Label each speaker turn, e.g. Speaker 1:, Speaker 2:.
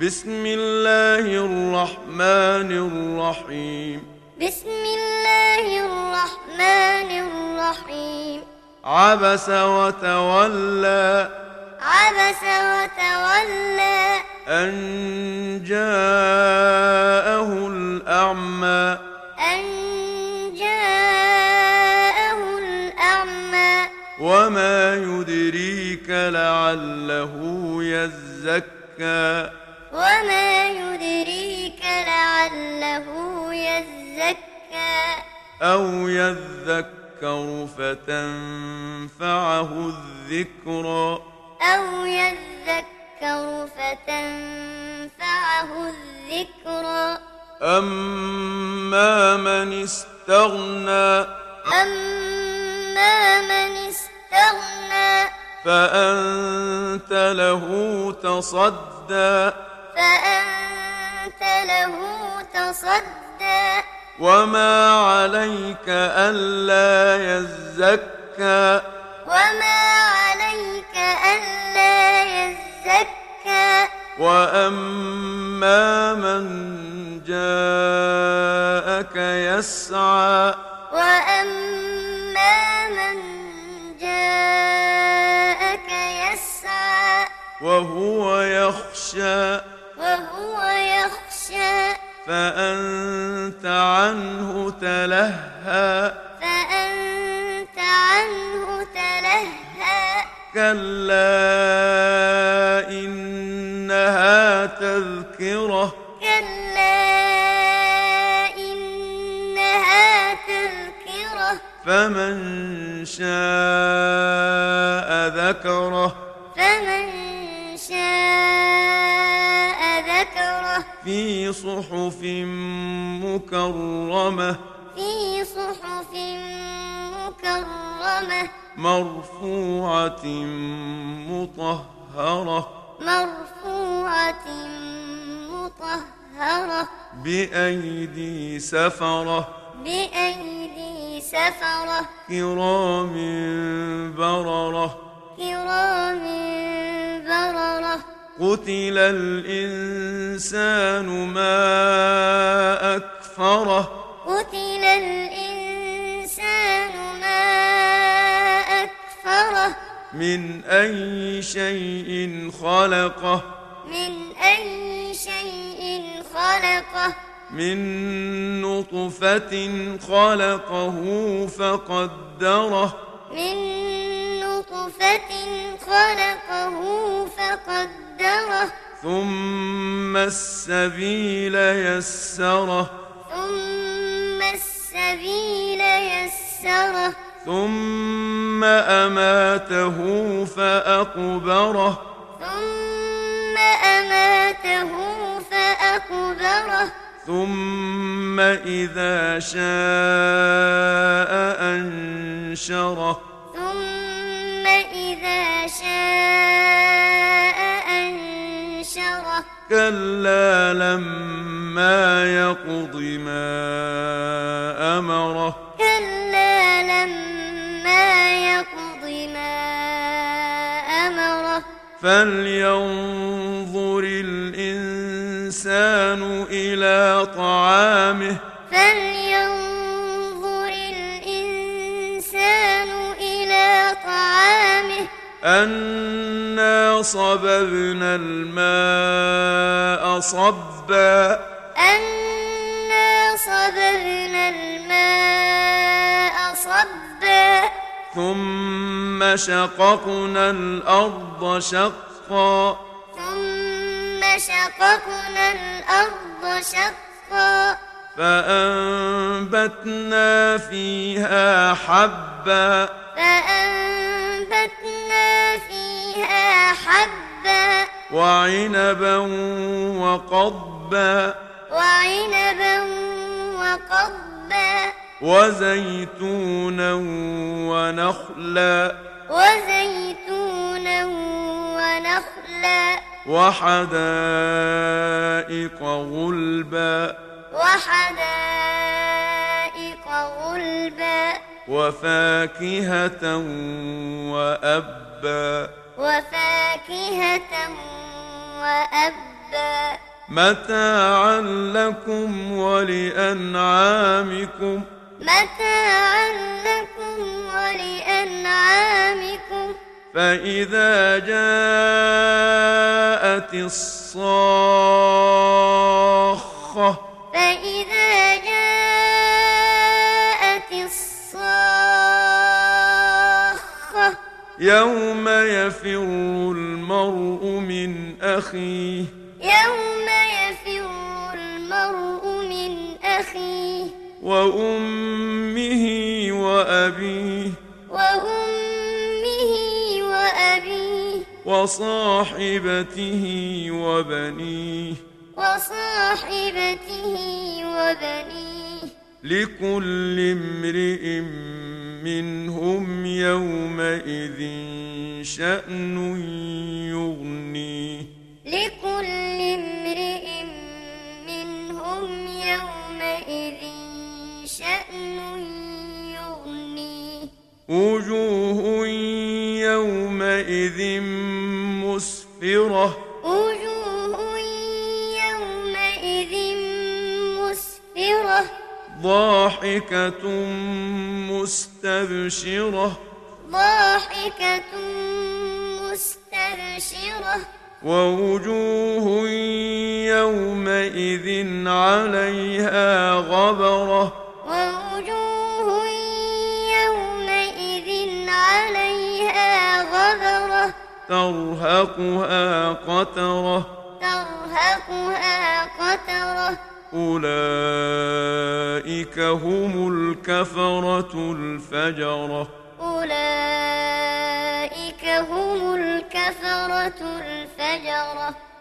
Speaker 1: بسم الله الرحمن الرحيم
Speaker 2: بسم الله الرحمن الرحيم
Speaker 1: عبس وتولى
Speaker 2: عبس وتولى
Speaker 1: أن جاءه الأعمى
Speaker 2: أن جاءه الأعمى
Speaker 1: وما يدريك لعله يزكى
Speaker 2: وما يدريك لعله يزكى
Speaker 1: أو يذكر فتنفعه الذكرى
Speaker 2: أو يذكر فتنفعه الذكرى
Speaker 1: أما من استغنى
Speaker 2: أما من استغنى
Speaker 1: فأنت له تصدى
Speaker 2: فأنت له تصدى
Speaker 1: وما عليك ألا يزكى
Speaker 2: وما عليك ألا يزكى
Speaker 1: وأما من جاءك يسعى
Speaker 2: وأما من جاءك يسعى
Speaker 1: وهو يخشى
Speaker 2: وهو يخشى
Speaker 1: فأنت عنه تلهى
Speaker 2: فأنت عنه تلهى
Speaker 1: كلا إنها تذكرة
Speaker 2: كلا إنها تذكرة
Speaker 1: فمن شاء ذكره
Speaker 2: فمن شاء ذكره
Speaker 1: في صحف مكرمة
Speaker 2: في صحف مكرمة
Speaker 1: مرفوعة مطهرة
Speaker 2: مرفوعة مطهرة
Speaker 1: بأيدي سفرة
Speaker 2: بأيدي سفرة
Speaker 1: كرام بررة
Speaker 2: كرام بررة
Speaker 1: قتل الإنسان ما أكفره
Speaker 2: قتل الإنسان ما أكفره
Speaker 1: من أي شيء خلقه
Speaker 2: من أي شيء خلقه
Speaker 1: من نطفة خلقه فقدره
Speaker 2: من نطفة خلقه فقدره
Speaker 1: ثم السبيل يسره
Speaker 2: ثم السبيل يسره
Speaker 1: ثم أماته فأقبره
Speaker 2: ثم أماته فأقبره
Speaker 1: ثم إذا شاء أنشره
Speaker 2: ثم إذا شاء أنشره
Speaker 1: كلا لما يقض ما أمره
Speaker 2: كلا لما يقض ما أمره
Speaker 1: فلينظر الإنسان إلى طعامه
Speaker 2: فلينظر الإنسان إلى طعامه
Speaker 1: أنا صببنا الماء صبا
Speaker 2: أنا صببنا الماء صبا
Speaker 1: ثم شققنا الأرض شقا
Speaker 2: ثم شققنا الأرض شقا
Speaker 1: فأنبتنا فيها حبا
Speaker 2: فأنبتنا فيها حبا
Speaker 1: وعنبا وقضبا
Speaker 2: وعنبا وقضبا
Speaker 1: وزيتونا ونخلا
Speaker 2: وزيتونا ونخلا
Speaker 1: وحدائق غلبا
Speaker 2: وحدائق غلبا
Speaker 1: وفاكهة وأبا
Speaker 2: وفاكهة وأبا
Speaker 1: متاعا لكم ولأنعامكم
Speaker 2: متاعا لكم ولأنعامكم
Speaker 1: فإذا جاءت الصاخة
Speaker 2: فإذا جاءت الصاخة
Speaker 1: يوم يفر المرء من أخيه
Speaker 2: يوم يفر المرء من أخيه
Speaker 1: وأمه وأبيه
Speaker 2: وأمه وأبيه
Speaker 1: وصاحبته وبنيه
Speaker 2: وصاحبته وبنيه
Speaker 1: لكل امرئ منهم يومئذ شأن يغنيه
Speaker 2: لكل امرئ منهم يومئذ شأن يغنيه
Speaker 1: وجوه يومئذ مسفرة
Speaker 2: وجوه يومئذ مسفرة
Speaker 1: ضاحكة مستبشرة
Speaker 2: ضاحكة مستبشرة
Speaker 1: ووجوه يومئذ عليها غبرة
Speaker 2: ووجوه يومئذ عليها غبرة
Speaker 1: ترهقها قترة
Speaker 2: ترهقها قترة
Speaker 1: أولئك هم الكفرة الفجرة
Speaker 2: أولئك هم الكفرة الفجرة